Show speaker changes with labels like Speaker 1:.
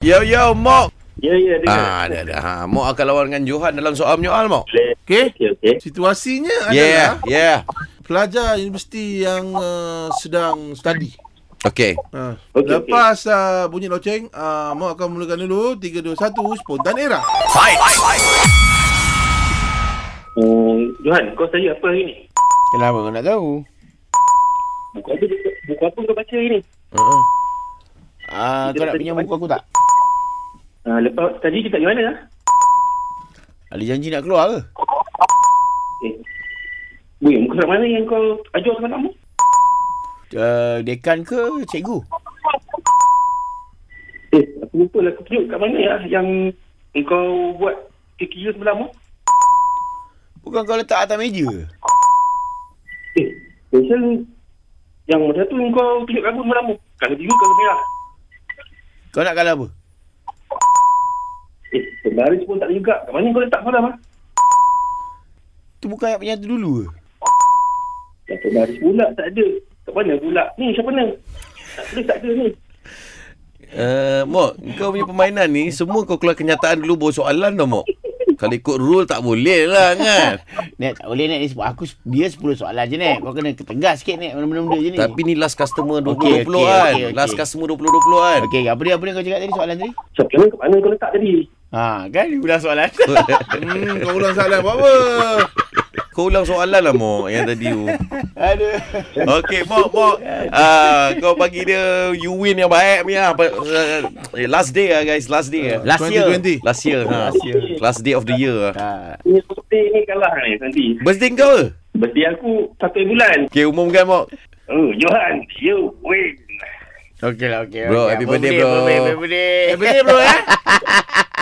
Speaker 1: Yo yo Mok.
Speaker 2: Ya, ya, dengar.
Speaker 1: Ah dah dah. Ha, Mok akan lawan dengan Johan dalam soal menyoal Mok.
Speaker 2: Boleh.
Speaker 3: Okey.
Speaker 2: Okey, okey.
Speaker 3: Situasinya
Speaker 4: lah.
Speaker 1: Yeah,
Speaker 3: adalah
Speaker 1: yeah.
Speaker 3: pelajar universiti yang uh, sedang study.
Speaker 1: Okay.
Speaker 3: Ha.
Speaker 2: Okey,
Speaker 3: Okay, Lepas okay. Uh, bunyi loceng, uh, Mak akan mulakan dulu 3 2 1 spontan era.
Speaker 2: Hmm, Johan, kau saya apa hari ni?
Speaker 1: Kenapa kau nak tahu?
Speaker 2: Buku apa, buku apa kau baca hari ni?
Speaker 4: Uh-uh. Ah,
Speaker 2: Kita
Speaker 4: kau nak
Speaker 2: tadi
Speaker 4: pinjam
Speaker 2: pagi-
Speaker 4: buku aku tak?
Speaker 2: Ah, lepas tadi kita kat mana lah?
Speaker 4: Ada janji nak keluar ke?
Speaker 2: Eh. Weh, muka surat mana yang kau ajar semalam tu?
Speaker 4: Uh, dekan ke cikgu?
Speaker 2: Eh, aku lupa lah aku tunjuk kat mana ya yang kau buat kira semalam tu.
Speaker 4: Bukan kau letak atas meja ke?
Speaker 2: Eh, special yang masa tu kau tunjuk kabut semalam tu. Kalau biru, kalau merah.
Speaker 4: Kau nak kala apa?
Speaker 2: Eh, pembaris pun tak ada juga. Kat mana kau letak semalam ah?
Speaker 4: Tu bukan ayat penyatu dulu ke?
Speaker 2: Yang pembaris Ya, pula tak ada. Kat mana pula? Ni, siapa ni? Tak tulis tak ada ni.
Speaker 1: Uh, Mok, kau punya permainan ni semua kau keluar kenyataan dulu baru soalan tau Mok. Kalau ikut rule tak boleh lah kan.
Speaker 4: Nek, tak boleh Nek. Ni sebab Aku, dia 10 soalan je Nek. Kau kena tegas sikit Nek. Benda-benda je ni.
Speaker 1: Tapi ni last customer 2020
Speaker 4: Okey,
Speaker 1: okay, kan.
Speaker 4: okey, okey, okey.
Speaker 1: Last customer 2020 kan.
Speaker 4: Okey, apa dia? Apa dia kau cakap tadi soalan tadi?
Speaker 2: Siapa ni? Kat mana kau letak tadi?
Speaker 4: Ha, kan? Dia ulang soalan.
Speaker 3: Hmm, kau ulang salah buat apa?
Speaker 1: kau ulang soalan lah Mok yang tadi tu.
Speaker 4: Aduh.
Speaker 1: Okey, Mok, Mok. Ah, kau bagi dia you win yang baik punya. Apa- eh, Last day lah guys, last day lah.
Speaker 4: Last year.
Speaker 3: 2020.
Speaker 1: Last year. Ha.
Speaker 4: Last year.
Speaker 1: Last day of the year lah.
Speaker 4: Ha.
Speaker 2: Ni birthday ni kalah ni nanti.
Speaker 1: Birthday kau ke?
Speaker 2: Birthday aku satu bulan.
Speaker 1: Okay, umumkan Mok.
Speaker 2: Oh, Johan, you win.
Speaker 4: Okey lah, okey.
Speaker 1: Bro,
Speaker 4: okey.
Speaker 1: happy
Speaker 4: Apa
Speaker 1: birthday, bro.
Speaker 4: Happy birthday.
Speaker 3: Eh, betul bro eh?